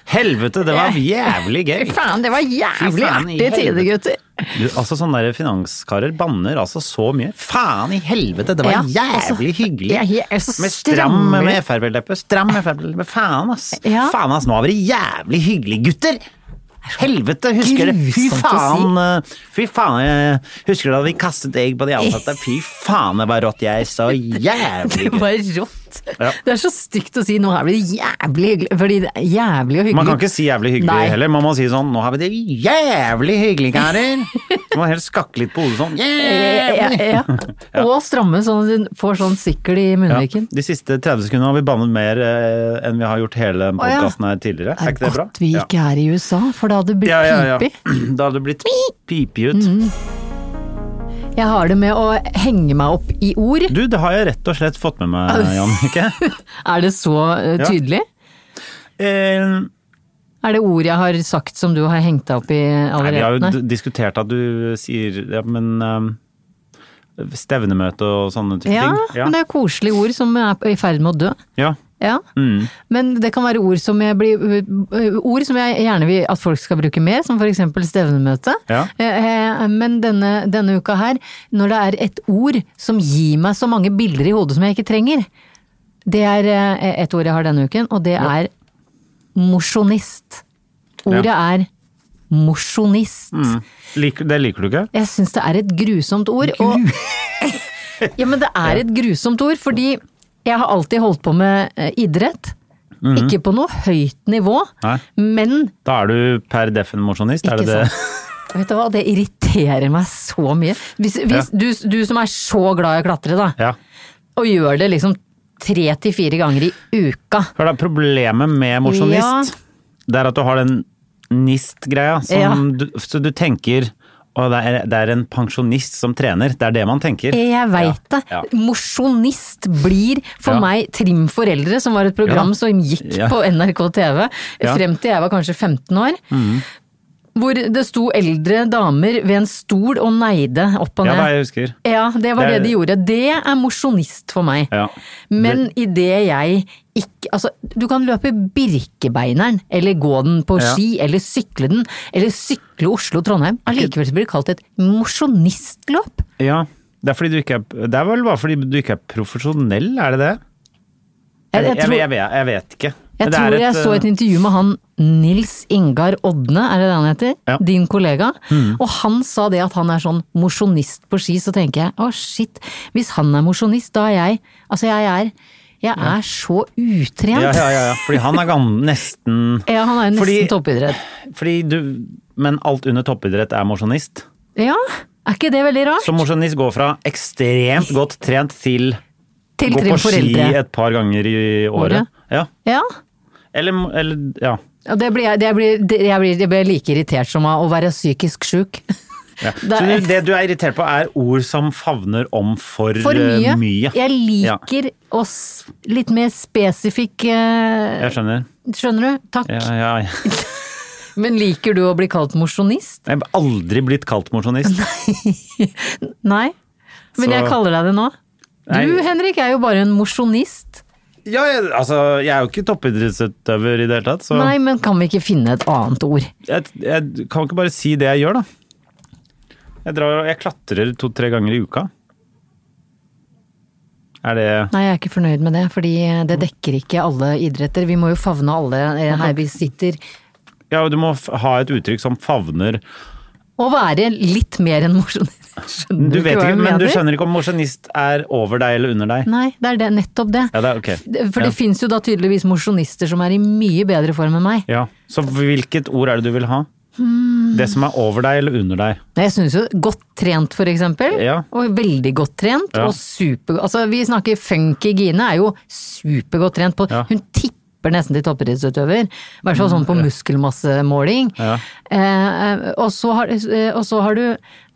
A: Helvete, det var jævlig gøy!
B: Fy faen, det var jævlig
A: faen i
B: artige tider, gutter.
A: Du, altså Sånne der finanskarer banner altså så mye. Faen i helvete, det var
B: Ja, altså,
A: jævlig hyggelig!
B: jeg- jeg er så
A: med stram
B: strammer.
A: med Frp-leppe. Stram Frp-leppe. Faen, ass!
B: Ja.
A: Faen, ass, nå har vi det jævlig hyggelig, gutter! Helvete, husker dere Fy
B: grusomt å
A: faen! eh, Fy faen, jeg husker dere da vi kastet egg på de ansatte? Fy faen, det var rått, jeg. Så jævlig
B: Det
A: gøy.
B: var rått.
A: Ja.
B: Det er så stygt å si 'nå er det jævlig hyggelig', fordi det er jævlig og hyggelig.
A: Man kan ikke si jævlig hyggelig
B: Nei.
A: heller. Man må si sånn 'nå har vi det jævlig hyggelig, karer'. Så må man helst skakke litt på hodet sånn.
B: ja,
A: Jævlig.
B: ja. Og stramme sånn at hun får sånn sikkel i
A: Ja,
B: munnviken.
A: de siste 30 sekundene har vi bannet mer eh, enn vi har gjort hele
B: Å, ja.
A: podkasten her tidligere. Er ikke det bra?
B: godt vi ikke er i USA, for det hadde blitt
A: ja, ja, ja.
B: pipig.
A: Da hadde det blitt
B: Mm.
A: pipig ut.
B: Jeg har det med å henge meg opp i ord.
A: Du, det har jeg rett og slett fått med meg, Jannicke.
B: Er det så eh,
A: Ja.
B: tydelig?
A: Eh,
B: Er det ord jeg har sagt som du har hengt deg opp i
A: nei, vi har
B: allerede?
A: jo d- diskutert at du sier ja, men eh, stevnemøte og sånne type
B: ja,
A: ting.
B: men det er jo koselige ord som er i ferd med å dø.
A: ja.
B: Ja.
A: Mm.
B: Men det kan være ord som jeg, blir, øh, ord som jeg gjerne vil at folk skal bruke mer, som f.eks. stevnemøte.
A: Ja.
B: Eh, eh, Men denne, denne uka her, når det er et ord som gir meg så mange bilder i hodet som jeg ikke trenger, det er eh, et ord jeg har denne uken, og det er mosjonist. Ordet er mosjonist.
A: Mm. Lik, det liker du ikke?
B: Jeg syns det er et grusomt ord. Og, ja, men det er et grusomt ord, fordi jeg har alltid holdt på med eh, idrett. Ikke på noe høyt nivå,
A: Mhm. Nei.
B: men
A: Da er du per defen mosjonist, er
B: ikke
A: det det?
B: sant. Vet du hva, det irriterer meg så mye. Hvis, hvis du, du som er så glad i å klatre, da,
A: Ja.
B: og gjør det liksom tre til fire ganger i uka.
A: Hør da, problemet med mosjonist, det er at du har den nist-greia. som
B: Ja.
A: Du, så du tenker å, det er, det er en pensjonist som trener. Det er det man tenker.
B: Jeg veit det.
A: Ja.
B: Mosjonist blir for
A: Ja.
B: meg Trim foreldre, som var et program
A: Ja.
B: som gikk
A: Ja.
B: på NRK TV
A: Ja. Mm.
B: frem til jeg var kanskje 15 år. Hvor det sto eldre damer ved en stol og neide opp og
A: Ja,
B: ned.
A: det er jeg husker.
B: Ja, det var
A: Det
B: det,
A: er-
B: de gjorde. Det er mosjonist for meg.
A: Ja.
B: Men i det jeg ikke Altså, du kan løpe Birkebeineren, eller gå den på
A: Ja.
B: ski, eller sykle den, eller sykle Oslo-Trondheim. Allikevel så blir det kalt et mosjonistløp.
A: Ja, det er, fordi du ikke er, det er vel bare fordi du ikke er profesjonell, er det det?
B: Jeg- jeg
A: Jeg, jeg,
B: tror-
A: jeg, vet- jeg vet ikke. Men
B: Jeg
A: det er
B: tror jeg så et
A: eh,
B: intervju med han Nils Ingar Odne, er det det han heter?
A: Ja. Mm.
B: Din kollega. Og han sa det at han er sånn mosjonist på ski, så tenker jeg å shit, hvis han er mosjonist, da er jeg Altså jeg er jeg er så utrent!
A: ja,
B: Ja,
A: ja, ja, ja, fordi han er gam- nesten
B: han er jo nesten
A: Fordi-
B: toppidrett.
A: Fordi du Men alt under toppidrett er mosjonist.
B: Ja, er ikke det veldig rart?
A: Så mosjonist går fra ekstremt godt trent til
B: Til
A: Gå
B: trim
A: på ski
B: foreldre.
A: et par ganger i
B: Året.
A: året. Ja.
B: Ja.
A: Eller, eller ja.
B: Og det blir jeg, det blir, det, jeg blir, jeg blir like irritert som av å være psykisk sjuk.
A: ja.
B: Det
A: Så
B: er-
A: du- det du er irritert på, er ord som favner om for,
B: For mye.
A: eh, mye.
B: Jeg
A: Ja.
B: liker oss litt mer spesifikk eh,
A: Jeg skjønner.
B: Skjønner du? Takk.
A: Ja, ja, ja.
B: Men liker du å bli kalt mosjonist?
A: Jeg har aldri blitt kalt mosjonist.
B: Nei. Men
A: Så-
B: jeg kaller deg det nå. Du,
A: Nei.
B: Henrik, er jo bare en mosjonist.
A: Ja, jeg, altså, jeg er jo ikke toppidrettsutøver i det hele tatt, så
B: Nei, men kan vi ikke finne et annet ord?
A: jeg, jeg kan ikke bare si det jeg gjør, da. Jeg, drar, jeg klatrer to-tre ganger i uka. Er det
B: Nei, jeg er ikke fornøyd med det, fordi det dekker ikke alle idretter. Vi må jo favne alle eh, her vi sitter.
A: Ja, du må f- ha et uttrykk som favner
B: Å være litt mer enn mosjonist. Skjønner
A: Du vet
B: hva
A: ikke,
B: jeg
A: men du
B: mener?
A: skjønner ikke om mosjonist er over deg eller under deg.
B: Nei, det er det, nettopp det.
A: Ja, det er ok.
B: For det
A: Ja.
B: finnes jo da tydeligvis mosjonister som er i mye bedre form enn meg.
A: Ja, Så hvilket ord er det du vil ha?
B: Hmm.
A: Det som er over deg eller under deg.
B: Jeg synes jo godt trent for eksempel,
A: Ja.
B: og veldig godt trent,
A: Ja.
B: og super... Altså vi snakker funky Gine er jo supergodt trent på...
A: Ja. Mm.
B: Hun tipper nesten til toppidrettsutøver, i hvert fall sånn på muskelmassemåling.
A: Ja.
B: Eh, og, så har, eh, og så har du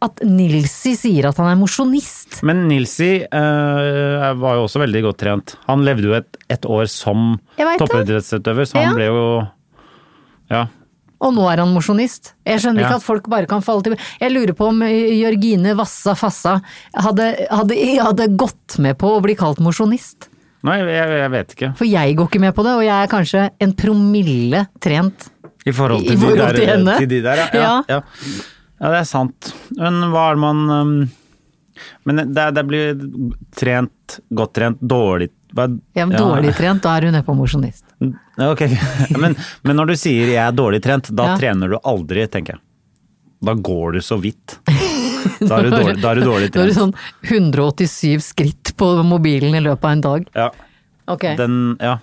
B: at Nilsi sier at han er mosjonist.
A: Men Nilsi eh, var jo også veldig godt trent. Han levde jo et, et år som
B: Jeg vet det.
A: toppidrettsutøver, så han
B: Ja.
A: ble jo Ja.
B: Og nå er han mosjonist. Jeg skjønner
A: Ja.
B: ikke at folk bare kan falle til Jeg lurer på om eh, Jørgine Vassa Fassa hadde, hadde, hadde gått med på å bli kalt mosjonist.
A: Nei, jeg, jeg vet ikke.
B: For jeg går ikke med på det, og jeg er kanskje en promille trent.
A: I forhold til,
B: I forhold
A: de,
B: til
A: der,
B: henne.
A: til de der, ja. Ja, ja. ja, det er sant. Men hva er det man um, Men det, det blir trent, godt trent, dårlig hva,
B: Jeg er dårlig trent, da er hun nedpå mosjonist.
A: Ja, ok. Men, men når du sier 'jeg er dårlig trent', da
B: Ja.
A: trener du aldri, tenker jeg. Da går du så vidt. Da er du dårlig, da er du dårlig
B: Da er
A: trent.
B: du sånn 187 skritt på mobilen i løpet av en dag.
A: Ja.
B: Ok.
A: Den, ja.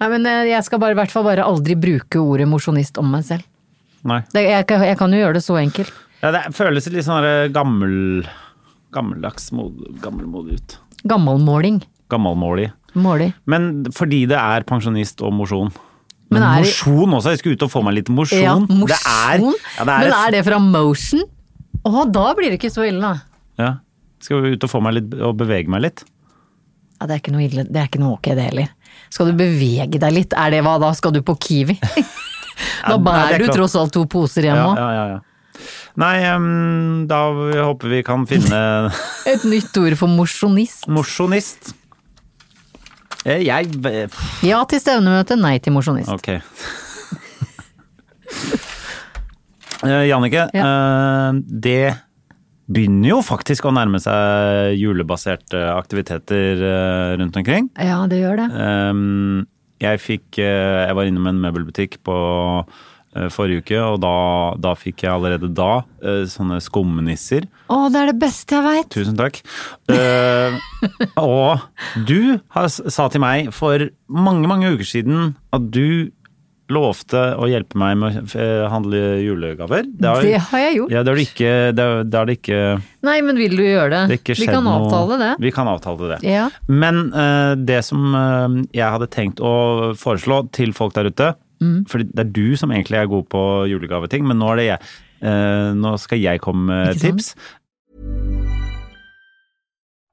B: Nei, men eh, jeg skal bare, i hvert fall bare aldri bruke ordet mosjonist om meg selv.
A: Nei.
B: Det, jeg, kan- jeg kan jo gjøre det så enkelt.
A: Ja, det føles litt sånn der gammel, gammeldags, mod- gammelmodig ut.
B: Gammalmåling.
A: Gammalmålig.
B: Målig.
A: Men fordi det er pensjonist og mosjon. Men,
B: Men er det-
A: mosjon også, jeg skulle ut og få meg litt mosjon.
B: Ja, mosjon.
A: Det er, ja, det er,
B: Men er det fra motion? Å, da blir det ikke så ille, da.
A: Ja. Skal ut og få meg litt, og bevege meg litt.
B: Ja, det er ikke noe ille, det er ikke noe ok det heller. Skal du bevege deg litt, er det hva da? Skal du på Kiwi?
A: Ja, nei,
B: da
A: det
B: bærer
A: er
B: du
A: klart.
B: tross alt to poser
A: Ja,
B: hjem òg.
A: ja, ja, ja. Nei, em, da håper vi kan finne
B: Et nytt ord for mosjonist.
A: mosjonist. Eh, Jeg
B: Ja til stevnemøte, nei til mosjonist.
A: Ok. Eh, Jannicke, eh, det begynner jo faktisk å nærme seg julebaserte aktiviteter eh, rundt omkring.
B: Ja, det gjør det.
A: Ehm, jeg fikk eh, Jeg var innom en møbelbutikk på eh, forrige uke, og da, da fikk jeg allerede da eh, sånne skumnisser.
B: Å, det er det beste jeg veit!
A: Tusen takk. Eh, og du har, s- sa til meg for mange, mange uker siden at du lovte å hjelpe meg med å eh, handle julegaver.
B: Det har jeg gjort.
A: Ja, det har du ikke, det, har- det har det ikke,
B: Nei, men vil du gjøre det?
A: det har ikke
B: Vi
A: skjedd
B: kan
A: noe-
B: avtale det.
A: Vi kan avtale det.
B: Ja.
A: Men eh, det som eh, jeg hadde tenkt å foreslå til folk der ute
B: Mm.
A: For det er du som egentlig er god på julegaveting, men nå er det jeg. Eh, nå skal jeg komme med
B: Ikke sant?
A: tips.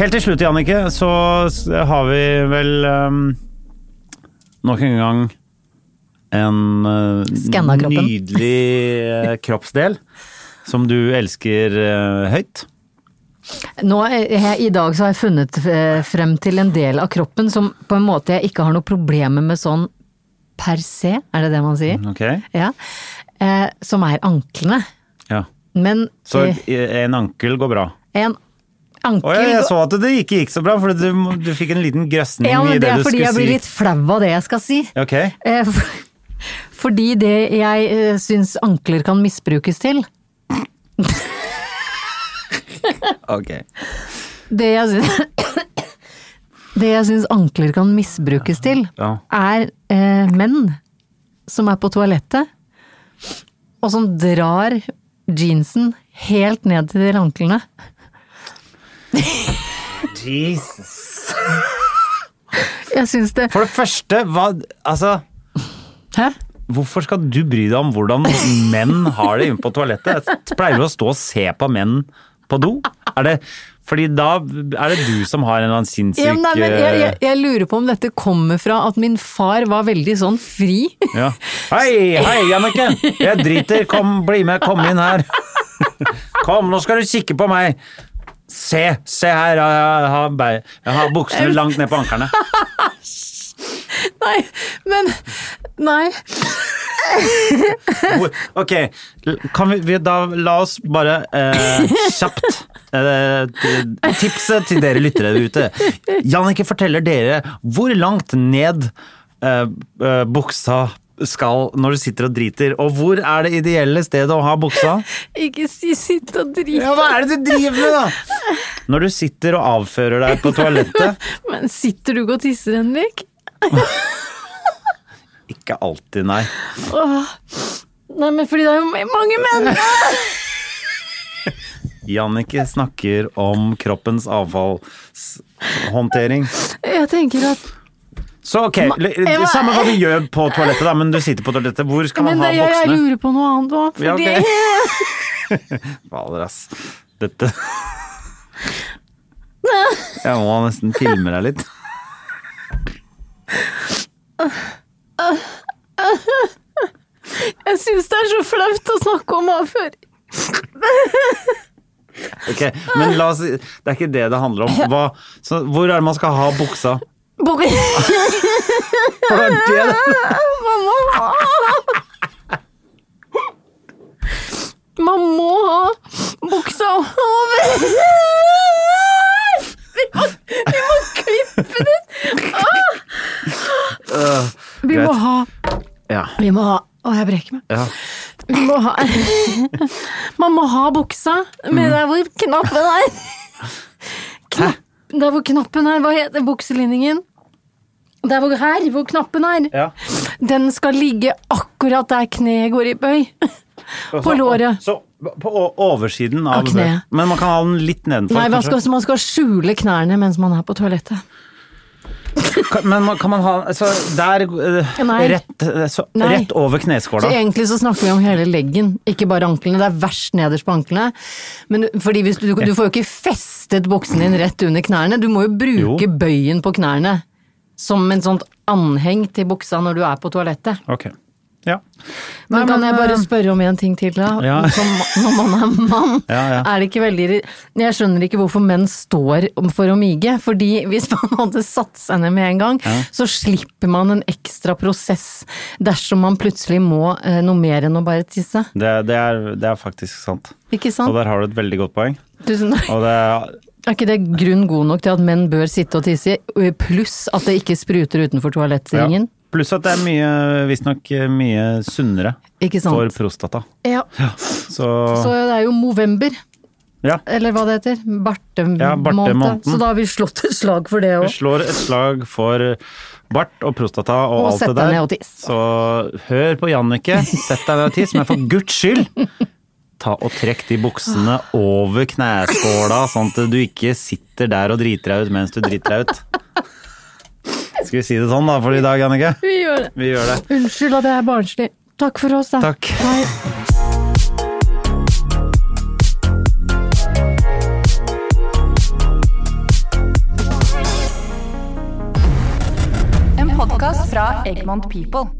A: Helt til slutt, Jannicke, så s- har vi vel ehm, nok en gang en eh,
B: Skanna kroppen.
A: nydelig eh, kroppsdel som du elsker eh, høyt.
B: Nå, eh, I dag så har jeg funnet eh, frem til en del av kroppen som på en måte jeg ikke har noe problemer med sånn per se, er det det man sier?
A: Ok?
B: Ja. Eh, som er anklene.
A: Ja.
B: Men
A: Så
B: eh,
A: eh, en ankel går bra.
B: en
A: Å
B: ankel
A: ja, jeg
B: går-
A: så at det ikke gikk så bra, for du, du fikk en liten grøsning
B: Ja,
A: i
B: men
A: det,
B: det er
A: du
B: fordi
A: skulle
B: jeg blir
A: si.
B: litt flau av det jeg skal si.
A: Ok,
B: Eh, for- Fordi det jeg eh, syns ankler kan misbrukes til,
A: Ok.
B: Det jeg syns, det jeg syns ankler kan misbrukes til,
A: Ja.
B: er eh, menn som er på toalettet, og som drar jeansen helt ned til de anklene.
A: Jesus.
B: Jeg syns det
A: For det første, hva Altså,
B: Hæ?
A: hvorfor skal du bry deg om hvordan menn har det inne på toalettet? Jeg pleier du å stå og se på menn på do? Er det fordi da er det du som har en eller annen sinnssyk
B: Ja, men nei, men jeg, jeg, jeg lurer på om dette kommer fra at min far var veldig sånn fri.
A: eh, Ja. Hei, hei, Jannicke! Jeg driter. Kom, bli med. Kom inn her. Kom, nå skal du kikke på meg. Se, se her. Jeg har- jeg har, bei- jeg har buksene langt ned på anklene.
B: Nei, men Nei.
A: Hvor- Ok, kan vi, vi da la oss bare eh, kjapt eh, t- Tipset til dere lyttere der ute. Jannicke forteller dere hvor langt ned eh, eh, buksa skal når du sitter og driter, og hvor er det ideelle stedet å ha buksa?
B: Ikke si sitt og drit,
A: Ja, hva er det du driver med, da? Når du sitter og avfører deg på toalettet
B: men sitter du ikke og tisser, Henrik?
A: Ikke alltid, nei.
B: Åh. Nei, men fordi det er jo mange menn!
A: Jannicke snakker om kroppens avfallshåndtering.
B: Jeg tenker at
A: Så ok, l- l- samme hva du gjør på toalettet, da, men du sitter på toalettet. Hvor skal
B: Men
A: man
B: det,
A: ha
B: jeg, jeg
A: buksene?
B: lurer på noe annet òg,
A: Ja,
B: fordi
A: ok. Fader, ass. Dette Jeg må nesten filme deg litt.
B: jeg syns det er så flaut å snakke om avføring.
A: Ok, Men la oss, det er ikke det det handler om. Hva, så, hvor er det man skal ha buksa?
B: Bok-
A: For det er det det
B: Man må ha Man må ha buksa over! Vi må, vi må klippe det!
A: Øh,
B: Vi må
A: Greit.
B: ha
A: ja,
B: Vi må ha Å, jeg breker meg.
A: ja.
B: Vi må ha Man må ha buksa
A: Mm.
B: med der hvor knappen er.
A: Hæ?
B: Der hvor knappen er, hva heter bukselinningen? Der hvor her, hvor knappen er.
A: Ja.
B: Den skal ligge akkurat der kneet går i bøy. På låret.
A: Så, på o- oversiden av,
B: Av kneet.
A: Men man kan ha den litt nedenfor.
B: Nei, man
A: kanskje.
B: skal, man skal skjule knærne mens man er på toalettet.
A: Kan- Men man, kan man ha altså, der eh,
B: Nei.
A: Rett, eh, så,
B: Nei.
A: rett over
B: Så
A: kneskåla.
B: egentlig så snakker vi om hele leggen, ikke bare anklene. Det er verst nederst på anklene. Men fordi hvis du, du får jo ikke festet buksen din rett under knærne. Du må jo bruke
A: Jo.
B: bøyen på knærne som en sånt anheng til buksa når du er på toalettet.
A: Ok. Ja.
B: Men kan
A: men,
B: jeg bare
A: eh,
B: spørre om en ting til, da?
A: Ja.
B: Som, når man er mann,
A: Ja, ja.
B: er det ikke veldig Jeg skjønner ikke hvorfor menn står om- for å mige. Fordi hvis man hadde satt seg ned med en gang, så slipper man en ekstra prosess dersom man plutselig må eh, noe mer enn å bare tisse.
A: Det, det, er, det er faktisk sant.
B: Ikke
A: Og
B: sant?
A: der har du et veldig godt poeng.
B: Tusen takk.
A: Og det er,
B: Er ikke det grunn god nok til at menn bør sitte og tisse, pluss at det ikke spruter utenfor
A: ja.
B: toalettringen?
A: Pluss at det er mye, visstnok eh, mye sunnere
B: Ikke sant?
A: for prostata.
B: Ja.
A: Så,
B: Så det er jo Movember,
A: ja.
B: eller hva det heter. Bartemåned.
A: Ja, bartemåneden.
B: Så da har vi slått et slag for det
A: Vi
B: òg.
A: slår et slag for bart og prostata og,
B: Og
A: alt
B: sett
A: det
B: deg
A: der.
B: ned og tiss.
A: Så hør på Jannicke, sett deg ned og tiss, men for guds skyld! Ta og trekk de buksene over kneskåla, sånn at du ikke sitter der og driter deg ut mens du driter deg ut. Skal vi si det sånn da for i dag, Jannicke?
B: Vi gjør det.
A: Vi gjør det.
B: Unnskyld at jeg er barnslig. Takk for oss, da.
A: Takk.
B: Hei.
F: En podkast fra Egmont People.